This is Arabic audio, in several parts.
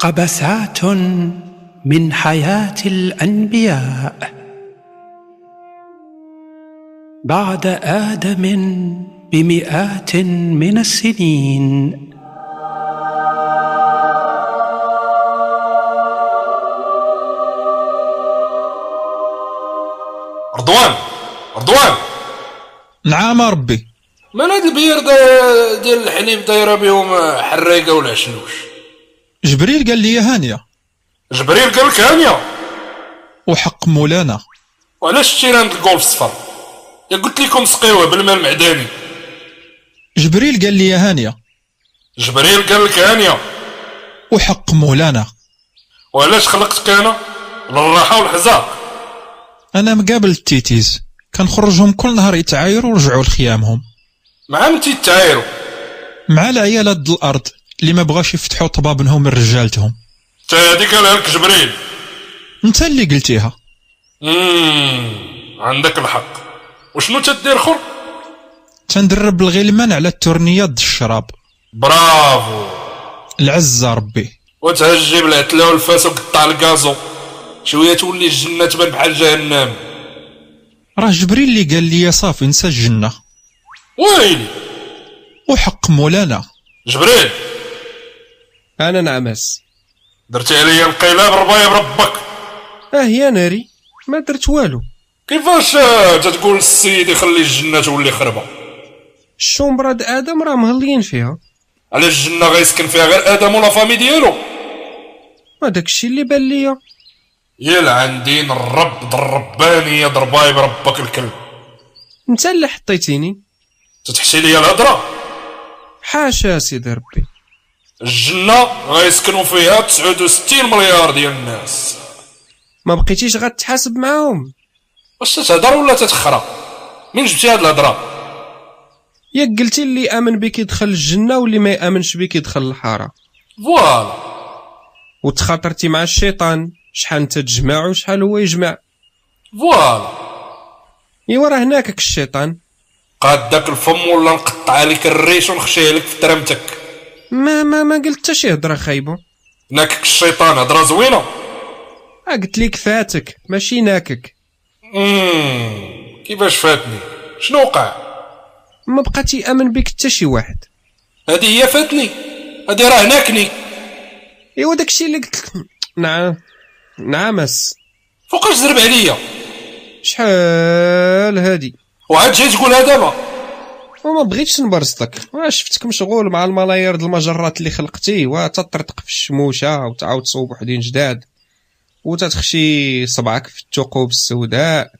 قبسات من حياه الانبياء بعد ادم بمئات من السنين رضوان رضوان نعم ربي من هاد البير دا- ديال الحليب دايره بهم حريقه ولا شنوش جبريل قال لي هانيه جبريل قال لك هانيه وحق مولانا وعلاش شتي عند الجولف الصفر يا قلت لكم سقيوه بالماء المعدني جبريل قال لي هانيه جبريل قال لك هانيه وحق مولانا وعلاش خلقتك انا للراحه والحزاق انا مقابل التيتيز كنخرجهم كل نهار يتعايروا ورجعوا لخيامهم مع متي تعايروا مع العيالات د الارض اللي ما بغاش يفتحوا طبابنهم من رجالتهم تا هذيك قالها لك جبريل انت اللي قلتيها امم عندك الحق وشنو تدير خر تندرب الغلمان على التورنيات د الشراب برافو العزة ربي وتهجي بالعتله والفاس وقطع الكازو شويه تولي الجنه تبان بحال جهنم راه جبريل اللي قال لي صافي نسى الجنة ويلي وحق مولانا جبريل انا نعمس درتي عليا القلاب ربايا بربك اه يا ناري ما درت والو كيفاش آه، تتقول السيد يخلي الجنه تولي خربه الشومبرا د ادم راه مهليين فيها على الجنه غيسكن فيها غير ادم ولا فامي ديالو ما داكشي اللي بان ليا يلعن دين الرب د الربانيه ضرباي بربك الكلب انت اللي حطيتيني تتحشي ليا الهضره حاشا سيدي ربي الجنه غيسكنوا فيها 69 مليار ديال الناس ما بقيتيش غتحاسب معاهم واش تتهضر ولا تتخرى من جبتي هاد الهضره ياك قلتي اللي امن بك يدخل الجنه واللي ما يامنش بك يدخل الحاره فوالا وتخاطرتي مع الشيطان شحال انت تجمع وشحال هو يجمع فوالا ايوا راه هناك هاك الشيطان قاد داك الفم ولا نقطع لك الريش ونخشيه لك في ترمتك ما ما ما قلت حتى شي هضره خايبه ناكك الشيطان هضره زوينه آه قلت لك فاتك ماشي ناكك مم. كيفاش فاتني شنو وقع ما بقات يامن بك حتى شي واحد هذه هي فاتني هذه راه هناكني ايوا داكشي اللي قلت لك نعم نعمس فوقاش زرب عليا شحال هادي وعاد جاي تقولها دابا وما بغيتش نبرزطك وا شفتك مشغول مع الملايير د المجرات اللي خلقتي وتطرطق في الشموشه وتعاود تصوب وحدين جداد وتتخشي صبعك في الثقوب السوداء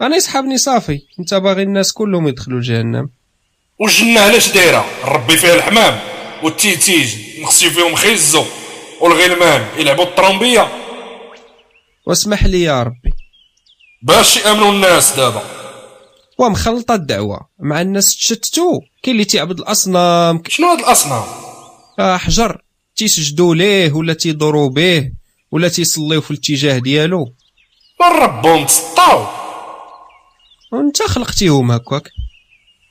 انا يسحبني صافي انت باغي الناس كلهم يدخلوا جهنم والجنة علاش دايرة ربي فيها الحمام والتيتيج نخسي فيهم خيزو والغلمان يلعبوا الطرومبية واسمح لي يا ربي باش يأمنوا الناس دابا ومخلطه الدعوه مع الناس تشتتوا كاين اللي تيعبد الاصنام ك- شنو هاد الأصنام آه، حجر تيسجدوا ليه ولا تيضروا به ولا تيصليو في الاتجاه ديالو من ربهم تسطاو وانت خلقتيهم هكاك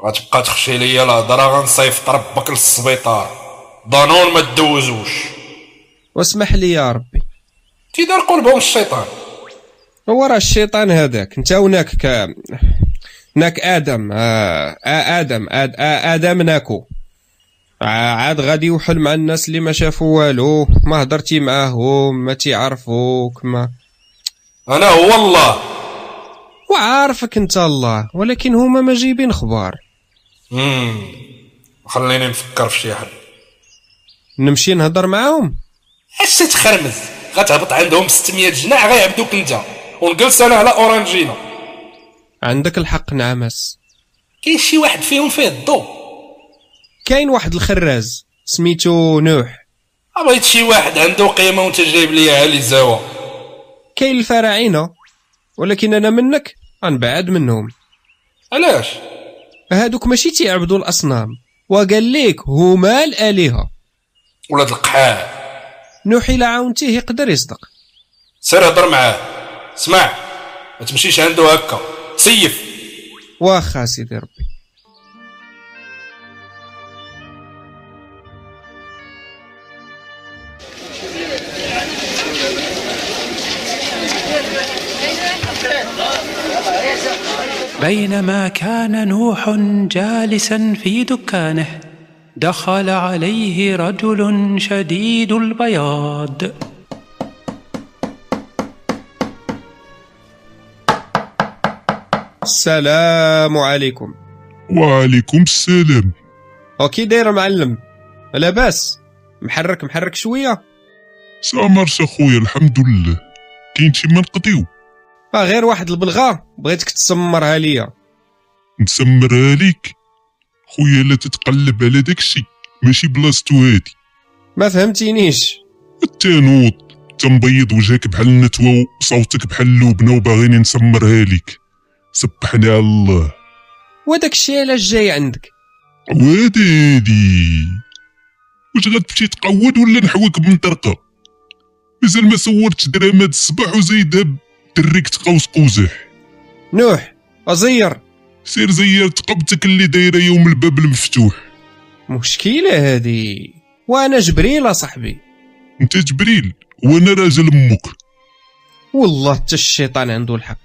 غتبقى تخشي ليا الهضرة غنصيفط ربك للسبيطار ضانون ما تدوزوش واسمح لي يا ربي تيدار قلبهم الشيطان هو راه الشيطان هذاك انت وناك ك... ناك ادم آه آه ادم آد آه ادم ناكو آه عاد غادي يوحل مع الناس اللي ما شافوا والو ما هضرتي معاهم ما تيعرفوك ما أنا هو الله وعارفك انت الله ولكن هما ما جايبين خبار مم. خليني نفكر في شي حل نمشي نهضر معاهم اش تتخرمز غتهبط عندهم 600 جناح غيعبدوك انت ونجلس انا على اورانجينا عندك الحق نعمس كاين شي واحد فيهم فيه الضو كاين واحد الخراز سميتو نوح بغيت شي واحد عنده قيمه وانت جايب ليا علي زاوا كاين الفراعنه ولكن انا منك غنبعد منهم علاش هادوك ماشي تيعبدوا الاصنام وقال ليك هما الالهه ولاد القحاع نوح الى عاونتيه يقدر يصدق سير هضر معاه اسمع ما تمشيش عنده هكا سيف واخا سيدي ربي بينما كان نوح جالسا في دكانه دخل عليه رجل شديد البياض السلام عليكم وعليكم السلام اوكي داير معلم لاباس محرك محرك شويه سامرش اخويا الحمد لله كاين شي ما نقضيو آه غير واحد البلغه بغيتك تسمرها ليا نسمرها ليك خويا لا تتقلب على داكشي ماشي بلاصتو هادي ما فهمتينيش التانوط تنبيض وجهك بحال النتوى وصوتك بحال اللبنه وباغيني نسمرها ليك سبحنا على الله وداك الشيء علاش جاي عندك وهادي هادي واش غتمشي تقود ولا نحوك من طرقه مازال ما صورتش درهم هاد الصباح وزيد دريك تقوس قوزح نوح ازير سير زير تقبتك اللي دايره يوم الباب المفتوح مشكله هادي وانا جبريل صاحبي انت جبريل وانا راجل امك والله حتى الشيطان عنده الحق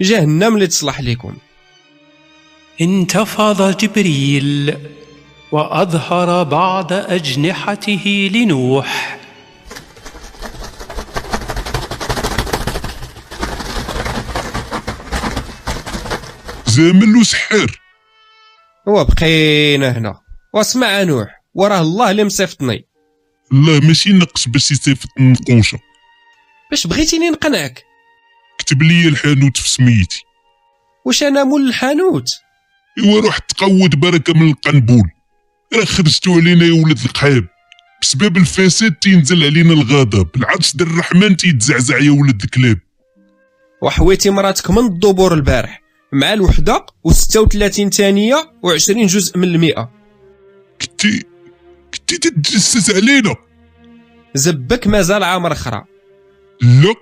جهنم اللي تصلح لكم انتفض جبريل واظهر بعض اجنحته لنوح زامل وسحار وبقينا هنا واسمع نوح وراه الله اللي مصيفطني لا ماشي نقص باش يصيفط النقوشه باش بغيتيني نقنعك كتب لي الحانوت في سميتي واش انا مول الحانوت ايوا روح تقود بركه من القنبول راه خرجتو علينا يا ولد القحاب بسبب الفساد تينزل علينا الغضب العرش ديال الرحمن تيتزعزع يا ولد الكلاب وحويتي مراتك من الدبور البارح مع الوحده و36 ثانيه و20 جزء من المئه كنتي كنتي تتجسس علينا زبك مازال عامر اخرى لا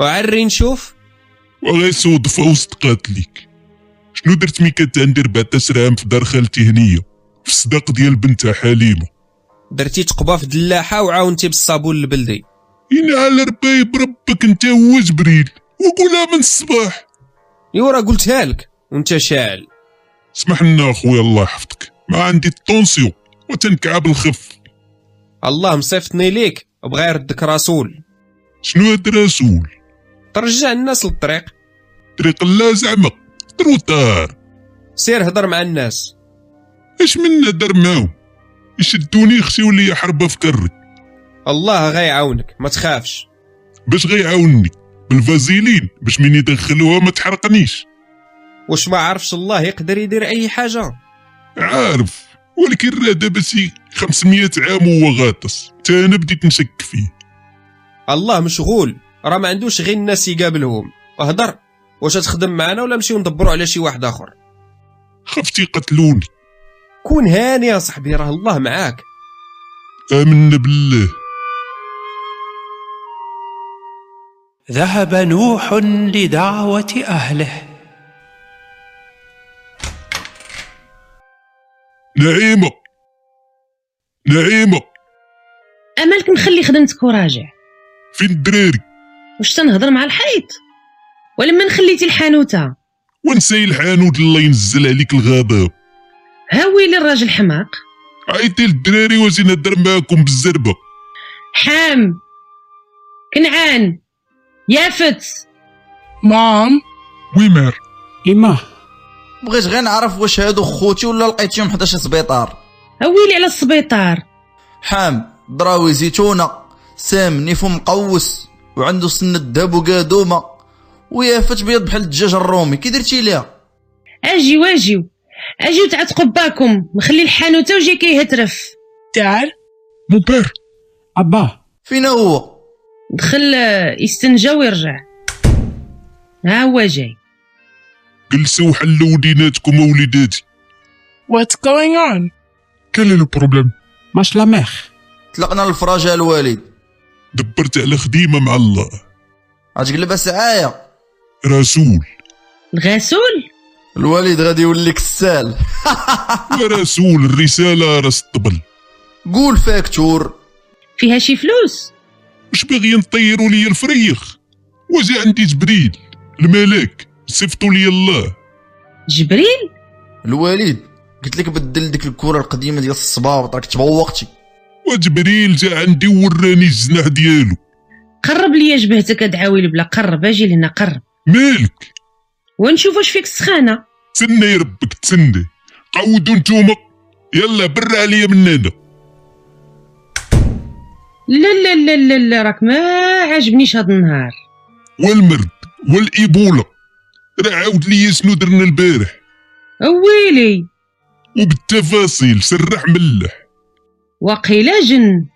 وعري نشوف وغير صدفة وسط قاتليك شنو درت ملي كنت عندي 14 عام في دار خالتي هنية في الصداق ديال بنتها حليمة درتي تقبه في دلاحه وعاونتي بالصابون البلدي إن على ربايب ربك انت هو جبريل وقولها من الصباح ايوا راه قلتها لك وانت شاعل اسمح لنا اخويا الله يحفظك ما عندي الطونسيو وتنكعب الخف الله مصيفطني ليك بغا يردك رسول شنو هاد رسول ترجع الناس للطريق طريق الله زعما تروتار سير هضر مع الناس اش منا دار معاهم يشدوني خشيو ليا حربة في كري الله غيعاونك ما تخافش باش غيعاونني بالفازيلين باش من يدخلوها ما تحرقنيش واش ما عرفش الله يقدر يدير اي حاجه عارف ولكن راه دابا شي 500 عام وهو غاطس حتى انا بديت نشك فيه الله مشغول راه ما عندوش غير الناس يقابلهم اهدر واش تخدم معنا ولا نمشيو ندبروا على شي واحد اخر خفت يقتلوني كون هاني يا صاحبي راه الله معاك امنا بالله ذهب نوح لدعوه اهله نعيمه نعيمه امالك نخلي خدمتك وراجع فين الدراري واش تنهضر مع الحيط ولما نخليتي الحانوته ونساي الحانوت الله ينزل عليك الغضب هاوي للراجل حماق عيطي للدراري وزي نهضر معاكم بالزربه حام كنعان يافت مام ويمار إما بغيت غير نعرف واش هادو خوتي ولا لقيتيهم حدا شي سبيطار هاويلي على السبيطار حام ضراوي زيتونه سام نيفو مقوس وعنده سن الذهب وقادومه ويافت بيض بحال الدجاج الرومي كي درتي ليها اجيو اجيو اجيو تعتقوا باكم مخلي الحانوته وجاي كيهترف تعال مبار أبا فينا هو دخل آه، يستنجى ويرجع ها هو جاي جلسوا وحلوا وليناتكم ووليداتي واتس جوينغ اون كان لو بروبليم ماش لا ميخ طلقنا الفراجه الوالد دبرت على خديمه مع الله غتقلب السعايه رسول الغسول الوالد غادي يولي كسال يا رسول الرساله راس الطبل قول فاكتور فيها شي فلوس واش باغيين طيروا لي الفريخ واجي عندي جبريل الملك صيفطوا لي الله جبريل الوالد قلت لك بدل ديك الكره القديمه ديال الصباط راك تبوقتي وجبريل جا عندي وراني الجناح ديالو قرب ليا جبهتك ادعاوي البلا قرب اجي لهنا قرب مالك ونشوف واش فيك السخانه تسنى يا ربك تسنى قودوا نتوما يلا بر عليا من هنا لا لا لا لا, لا راك ما عاجبنيش هاد النهار والمرض والايبولا راه عاود ليا شنو درنا البارح ويلي وبالتفاصيل سرح ملح وقيلا جن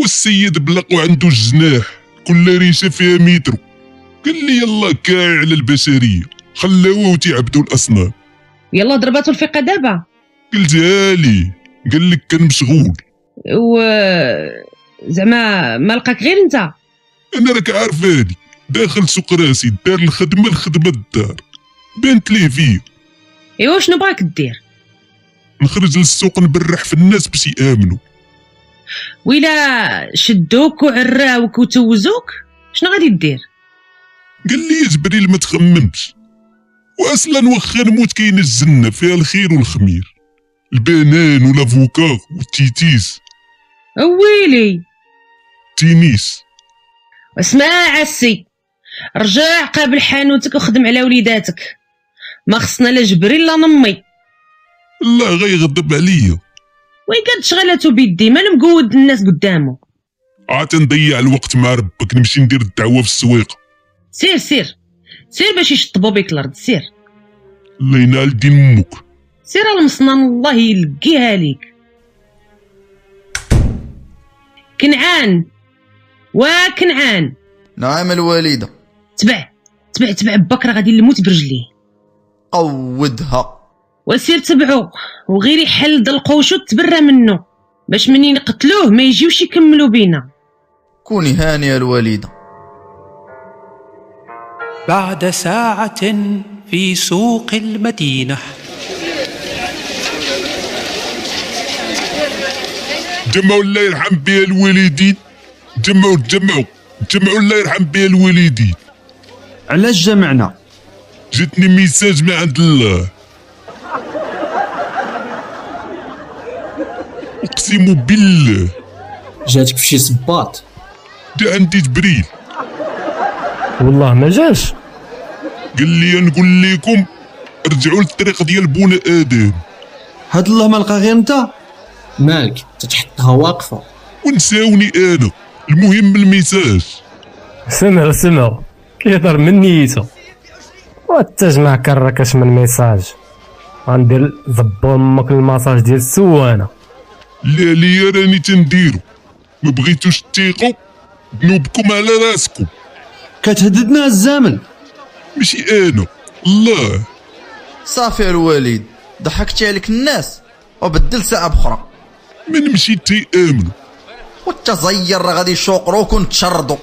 والسيد بلق وعنده الجناح كل ريشه فيها مترو قال لي يلا كاع على البشريه خلاوه وتيعبدوا الاصنام يلا ضرباتو الفقه دابا قلتها لي قال لك كان مشغول و زعما ما لقاك غير انت انا راك عارف هادي داخل سوق راسي دار الخدمه الخدمه الدار بنت ليه فيه ايوا شنو باغيك دير نخرج للسوق نبرح في الناس باش يامنوا ويلا شدوك وعراوك وتوزوك شنو غادي دير قال لي جبريل ما تخممش واصلا واخا نموت كاين الجنه فيها الخير والخمير البنان والافوكا والتيتيس ويلي تينيس اسمع عسي رجع قابل حانوتك وخدم على وليداتك ما خصنا لا جبريل لا نمي الله غيغضب عليا وين كانت شغلته بيدي ما مقود الناس قدامه عاد نضيع الوقت مع ربك نمشي ندير الدعوه في السويق سير سير سير باش يشطبوا بك الارض سير الله ينال دين امك سير المصنان الله يلقيها ليك كنعان وكنعان نعم الوالده تبع تبع تبع بكره غادي نموت برجليه قودها وسير تبعو وغير يحل د القوشو تبرى منه باش منين قتلوه ما يجيوش يكملوا بينا كوني هانيه الوالده بعد ساعة في سوق المدينة جمعوا الله يرحم بها الوالدين جمعوا جمعوا جمعوا الله يرحم بها الوالدين علاش جمعنا جاتني ميساج من عند الله اقسم بالله جاتك فشي صباط جا عندي جبريل والله ما جاش قال لي نقول لكم رجعوا للطريق ديال بونا ادم هاد الله ما لقى غير انت مالك تتحطها واقفه ونساوني انا المهم الميساج سمع سمع كيهضر من نيته والتجمع كركش من ميساج غندير زبو امك المساج ديال السوانه لا ليا راني تنديرو ما بغيتوش تيقوا ذنوبكم على راسكم كتهددنا الزمن ماشي انا الله صافي الوالد ضحكتي عليك الناس وبدل ساعه بخرى ما نمشي تي امن والتزير راه غادي يشوقروك ونتشردو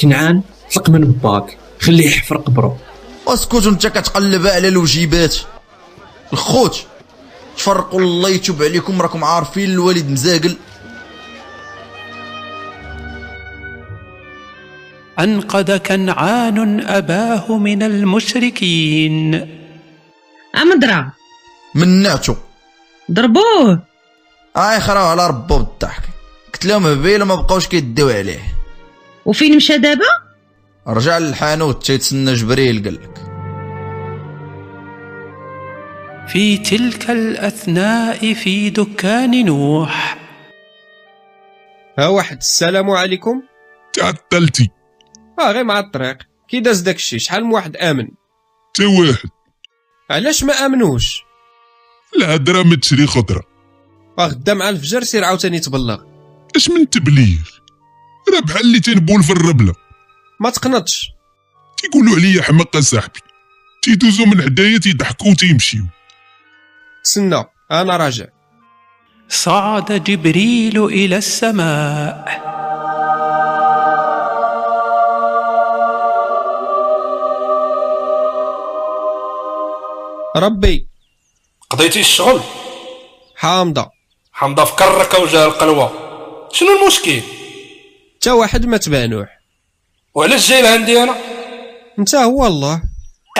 كنعان طلق من باك خليه يحفر قبره اسكت وانت كتقلب على الوجيبات الخوت تفرقوا الله يتوب عليكم راكم عارفين الوالد مزاقل أنقذ كنعان أباه من المشركين امضرا منعتو ضربوه اي خراو على ربو بالضحك قلت لهم هبيله ما بقاوش كيديو عليه وفين مشى دابا رجع للحانوت تيتسنى جبريل قال لك في تلك الأثناء في دكان نوح ها واحد السلام عليكم تعطلتي اه غير مع الطريق كي داز داكشي شحال من واحد امن تا واحد علاش ما امنوش الهضره ما تشري خضره آه، غدا مع الفجر سير عاوتاني تبلغ اش من تبليغ راه بحال اللي تنبول في الربله ما تقنطش تيقولوا عليا حماق صاحبي تيدوزو من حدايا تيضحكوا وتيمشيو تسنى انا راجع صعد جبريل إلى السماء ربي قضيتي الشغل حامضه حمضه في كركه وجهها القلوه شنو المشكل تا واحد ما تبانوح وعلاش جاي لعندي انا انت هو الله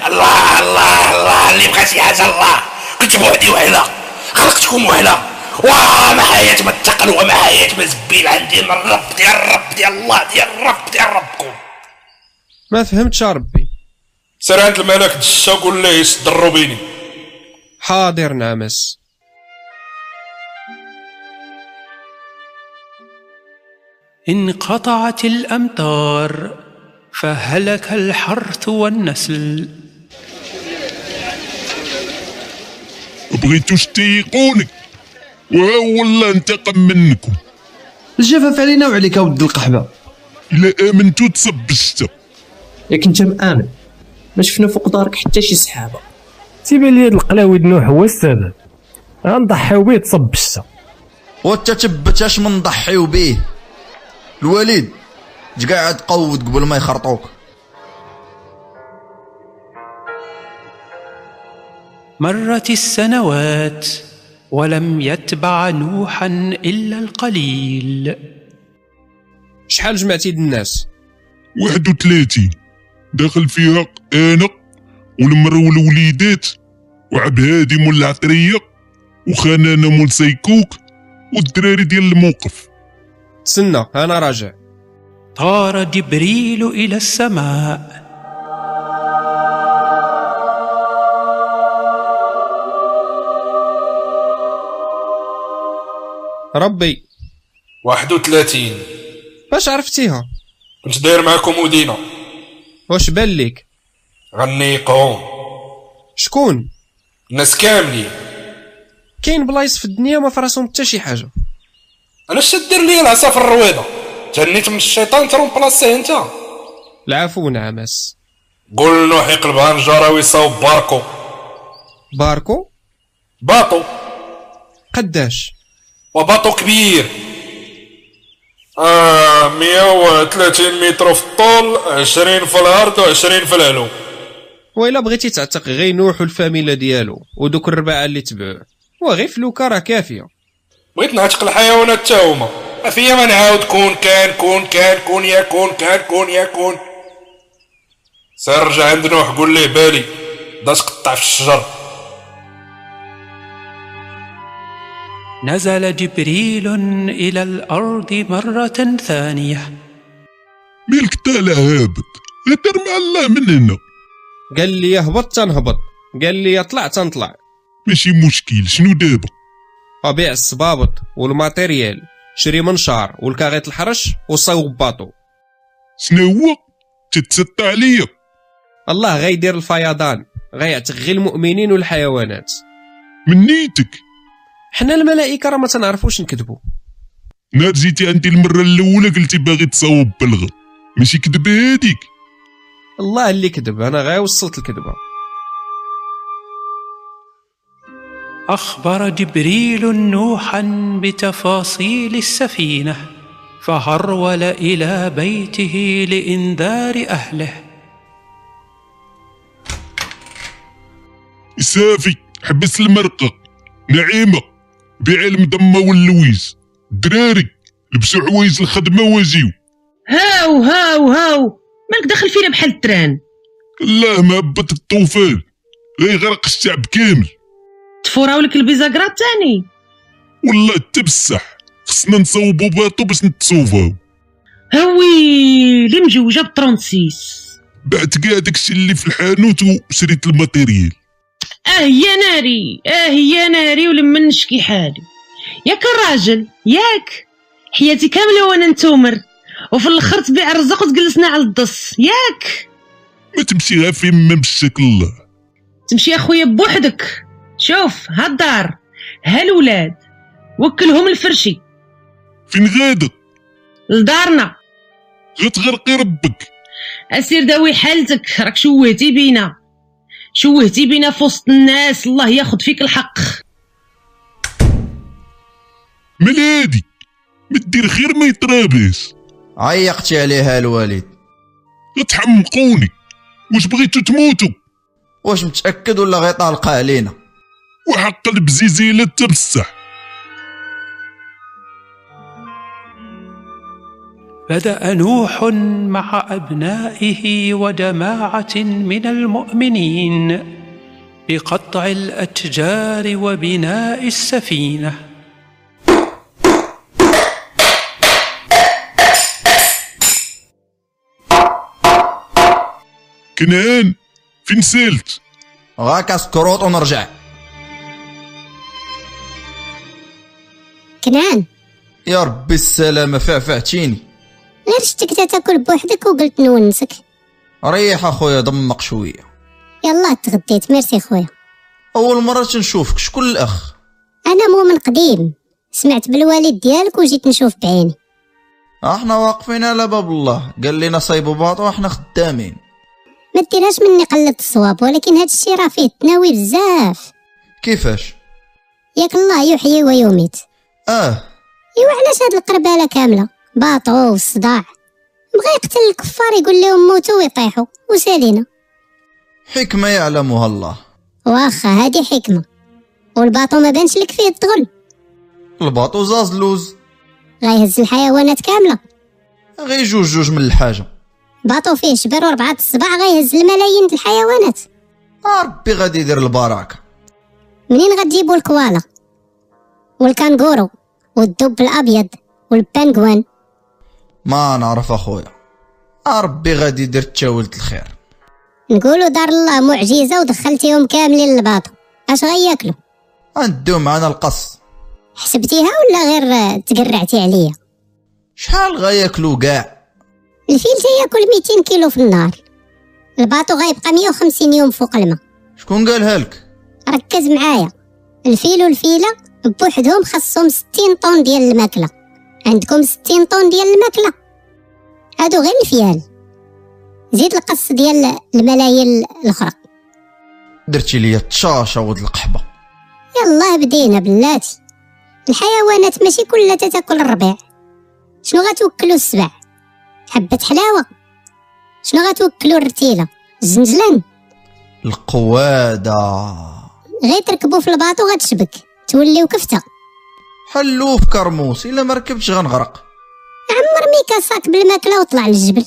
الله الله الله اللي بغى شي حاجه الله كنت بوحدي وحده خلقتكم وحده واه ما حياة ما التقل وما حياة ما زبيل عندي من الرب ديال الرب ديال الله ديال الرب ديال ربكم ما فهمتش ربي سير عند الملك دشا وقول ليه يسد الروبيني حاضر نعمس انقطعت الامطار فهلك الحرث والنسل بغيتوش تيقونك وها هو الله انتقم منكم الجفاف علينا وعليك ود القحبه الا امنتو تصب الشتا ياك انت مآمن ما شفنا فوق دارك حتى شي سحابه تيبان لي هاد القلاوي دنو هو السبب غنضحيو بيه تصب الشتا وانت تبت اش منضحيو بيه الوليد تقعد قود قبل ما يخرطوك مرت السنوات ولم يتبع نوحا الا القليل شحال جمعتي الناس 31 داخل فيها انا والمرة والوليدات وعبد هادي مول العطرية وخنانة مول سيكوك والدراري ديال الموقف تسنى انا راجع طار جبريل الى السماء ربي 31 باش عرفتيها كنت داير معاكم ودينا واش بان ليك غنيقهم شكون الناس كاملين كاين بلايص في الدنيا ما فراسهم حتى شي حاجه انا اش دير لي العصا في الرويضه تهنيت من الشيطان ترون بلاصتيه انت العفو نعمس قول نوح يقلب هنجره ويصاوب باركو باركو باطو قداش وباطو كبير آه 130 متر في الطول 20 في العرض و20 في العلو وإلا بغيتي تعتق غير نوح والفاميلا ديالو ودوك الرباعه اللي تبعوه وغير فلوكه راه كافيه بغيت نعتق الحيوانات تا هما ما فيا ما نعاود كون كان كون كان كون يا كون كان كون يا كون سير رجع عند نوح قول ليه بالي بدا تقطع في الشجر نزل جبريل الى الارض مره ثانيه مالك طالع هابط غدر مع الله من هنا قال لي هبط تنهبط قال لي طلع تنطلع ماشي مشكل شنو دابا ابيع الصبابط والماتيريال شري منشار والكاغيط الحرش وصاوب باطو شنو هو تتسطى عليا الله غيدير الفيضان غيعتق غير المؤمنين والحيوانات من نيتك حنا الملائكه راه ما تنعرفوش نكذبوا نهار جيتي عندي المره الاولى قلتي باغي تصاوب بلغه ماشي كدبه هاديك الله اللي كذب انا غير وصلت الكذبه اخبر جبريل نوحا بتفاصيل السفينه فهرول الى بيته لانذار اهله صافي حبس المرقه نعيمه بيع المضمه واللويز دراري لبسوا حوايج الخدمه واجيو هاو هاو هاو مالك داخل فينا بحال التران الله ما هبط الطوفان غيغرق الشعب كامل تفوراو لك البيزاكرا تاني والله حتى بصح خصنا نصوبو باطو باش نتصوفاو هوي اللي مجوجه ب 36 بعت كاع داكشي اللي في الحانوت وشريت الماتيريال اه يا ناري اه يا ناري ولما نشكي حالي ياك الراجل ياك حياتي كامله وانا نتومر وفي الاخر تبيع الرزق وتجلسنا على الدص ياك ما تمشي غير فين ما مشاك الله تمشي اخويا بوحدك شوف ها الدار ها الولاد وكلهم الفرشي فين غادا لدارنا غتغرقي ربك اسير داوي حالتك راك شوهتي بينا شوهتي بينا في وسط الناس الله ياخذ فيك الحق ملادي ما دير خير ما يترابس عيقتي عليها الوالد غتحمقوني واش بغيتو تموتوا واش متاكد ولا غيطلقها علينا وحق البزيزيله حتى بصح بدا نوح مع ابنائه ودماعه من المؤمنين بقطع الاتجار وبناء السفينه كنعان فين سالت غاك سكروط ونرجع كنعان يا ربي السلامه فعفعتيني غير شتك تا تاكل بوحدك وقلت نونسك ريح اخويا دمق شويه يلا تغديت ميرسي خويا اول مره تنشوفك شكون الاخ انا مؤمن قديم سمعت بالوالد ديالك وجيت نشوف بعيني احنا واقفين على باب الله قال لنا صايبوا باطو واحنا خدامين ما ديرهاش مني قلة الصواب ولكن هاد الشي راه فيه تناوي بزاف كيفاش ياك الله يحيي ويميت اه ايوا علاش هاد القربالة كاملة باطو والصداع بغا يقتل الكفار يقول لهم موتوا ويطيحوا وسالينا حكمه يعلمها الله واخا هادي حكمة والباطو ما بانش لك فيه الطغل الباطو زاز لوز غيهز الحيوانات كاملة غير جوج جوج من الحاجه باطو فيه شبر وربعة الصباع غيهز الملايين د الحيوانات ربي غادي يدير البركه منين غتجيبوا الكوالا والكانغورو والدب الابيض والبانغوان ما نعرف اخويا ربي غادي يدير تشاولت الخير نقولوا دار الله معجزه ودخلتيهم كاملين للباطو اش غياكلوا غنديو معانا القص حسبتيها ولا غير آه، تقرعتي عليا شحال غياكلو كاع الفيل تياكل 200 كيلو في النهار الباطو غيبقى 150 يوم فوق الماء شكون قالها لك ركز معايا الفيل والفيلة بوحدهم خاصهم 60 طن ديال الماكلة عندكم 60 طن ديال الماكلة هادو غير الفيال زيد القص ديال الملايين الأخرى درتي ليا الطشاشه ود القحبه يلا بدينا بلاتي الحيوانات ماشي كلها تتاكل الربيع شنو غتوكلو السبع حبة حلاوة شنو غتوكلو الرتيلة الزنجلان القواده غير تركبو في الباطو غتشبك توليو كفتة حلو في كرموس الا ما ركبتش غنغرق عمر ميكا صاك بالماكلة وطلع للجبل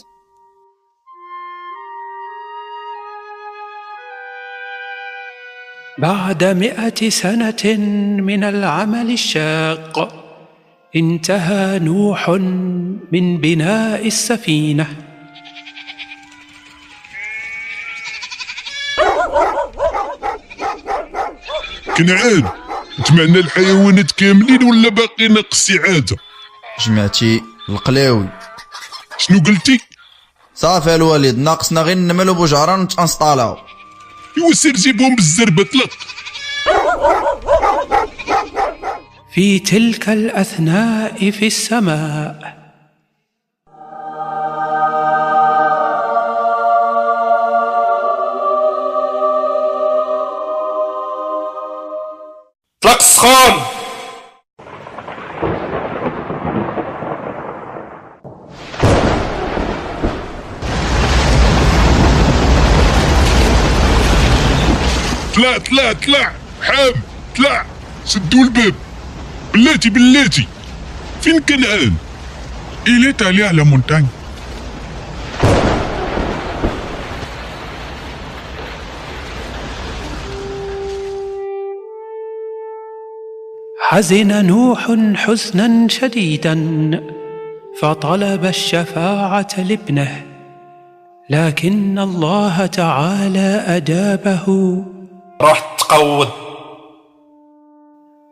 بعد مئة سنة من العمل الشاق انتهى نوح من بناء السفينة كنعان جمعنا الحيوانات كاملين ولا باقي ناقص عاده جمعتي القلاوي شنو قلتي صافي الوالد ناقصنا غير النمل وبوجعران ونتانسطالاو ايوا سير جيبهم بالزربه طلق في تلك الأثناء في السماء طلق السخون طلع طلع طلع حام طلع سدوا الباب بلاتي بلاتي فين كنعان إليت عليه على مونتاني حزن نوح حزنا شديدا فطلب الشفاعة لابنه لكن الله تعالى أجابه رحت تقود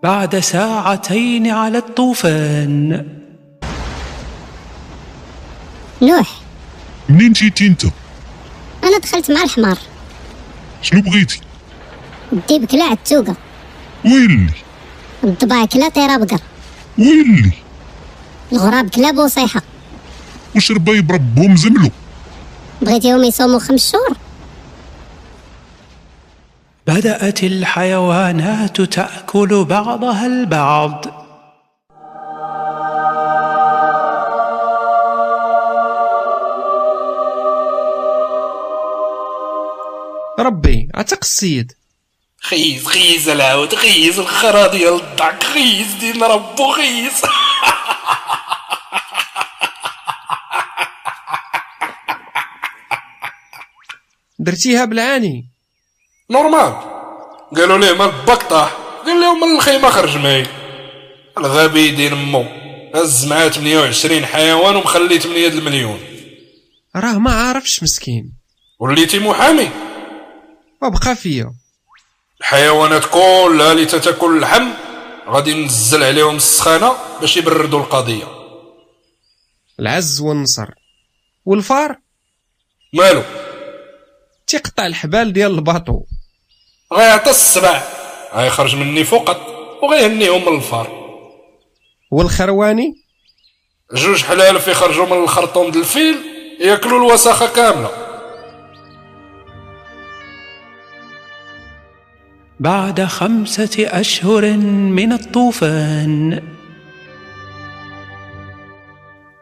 بعد ساعتين على الطوفان نوح منين جيتي انت أنا دخلت مع الحمار شنو بغيتي الديب كلا عتوقة ويلي الضباع كلا طيرة بقر ويلي الغراب كلا بوصيحة وش ربايب ربهم زملو بغيتيهم يصوموا خمس شهور بدأت الحيوانات تأكل بعضها البعض ربي عتق السيد خيز خيز العود خيز الخرا ديال الضعك خيز دين ربو خيز درتيها بالعاني نورمال قالوا ليه مال الباك طاح قال لهم من الخيمه خرج معي الغبي يدين امو هز معاه 28 حيوان ومخلي 8 د المليون راه ما عارفش مسكين وليتي محامي وبقى فيا الحيوانات كلها اللي تتاكل اللحم غادي نزل عليهم السخانه باش يبردوا القضيه العز والنصر والفار مالو تيقطع الحبال ديال الباطو غيعطي السبع غيخرج مني فقط وغيهنيهم من الفار والخرواني جوج حلالف يخرجوا من الخرطوم د الفيل ياكلوا الوساخه كامله بعد خمسة أشهر من الطوفان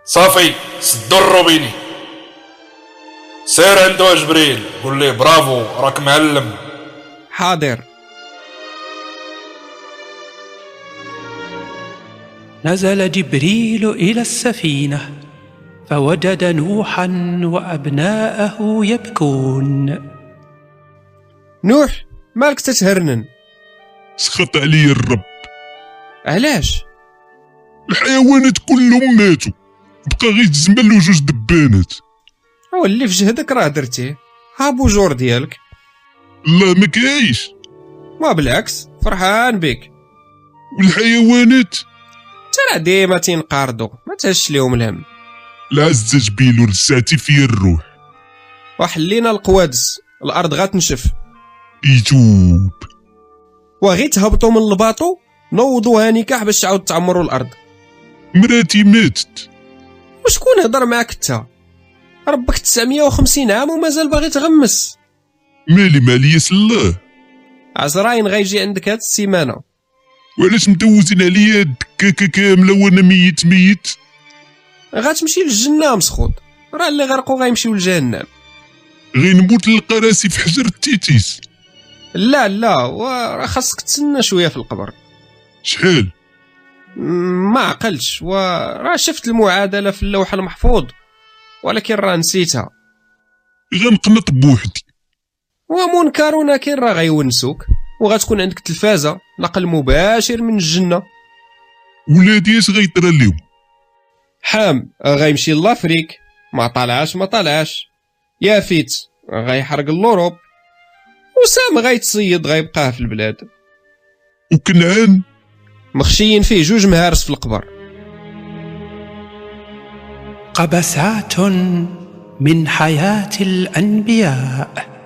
صافي سدوا الروبيني سير عندو جبريل قول ليه برافو راك معلم حاضر نزل جبريل إلى السفينة فوجد نوحا وأبناءه يبكون نوح مالك تتهرنن سخط علي الرب علاش الحيوانات كلهم ماتوا بقى غير الزمل وجوج دبانات هو اللي في جهدك راه درتيه ها بوجور ديالك لا ما كايش ما بالعكس فرحان بك والحيوانات ترى ديما تينقارضوا ما تهش ليهم الهم العزة جبيل ورساتي في الروح وحلينا القوادس الارض غتنشف يتوب وغي تهبطوا من الباطو نوضوها نكاح باش تعاود تعمروا الارض مراتي ماتت وشكون هضر معاك انت ربك 950 عام ومازال باغي تغمس مالي مالي ياس الله عزراين غيجي عندك هاد السيمانه وعلاش مدوزين عليا الدكاكه كامله وانا ميت ميت غتمشي للجنه مسخوط راه اللي غرقوا غيمشيو لجهنم غير نموت للقراسي في حجر التيتيس لا لا وراه خاصك تسنى شويه في القبر شحال مم، ما عقلتش وراه شفت المعادله في اللوح المحفوظ ولكن راه نسيتها غنقنط بوحدي ومنكر ونكير راه غيونسوك وغتكون عندك تلفازه نقل مباشر من الجنه ولادي اش غيطرى ليهم حام غيمشي لافريك ما طلعش ما طلعش يا فيت غيحرق الاوروب وسام غيتصيد غيبقاه في البلاد وكنعان مخشيين فيه جوج مهارس في القبر قبسات من حياة الأنبياء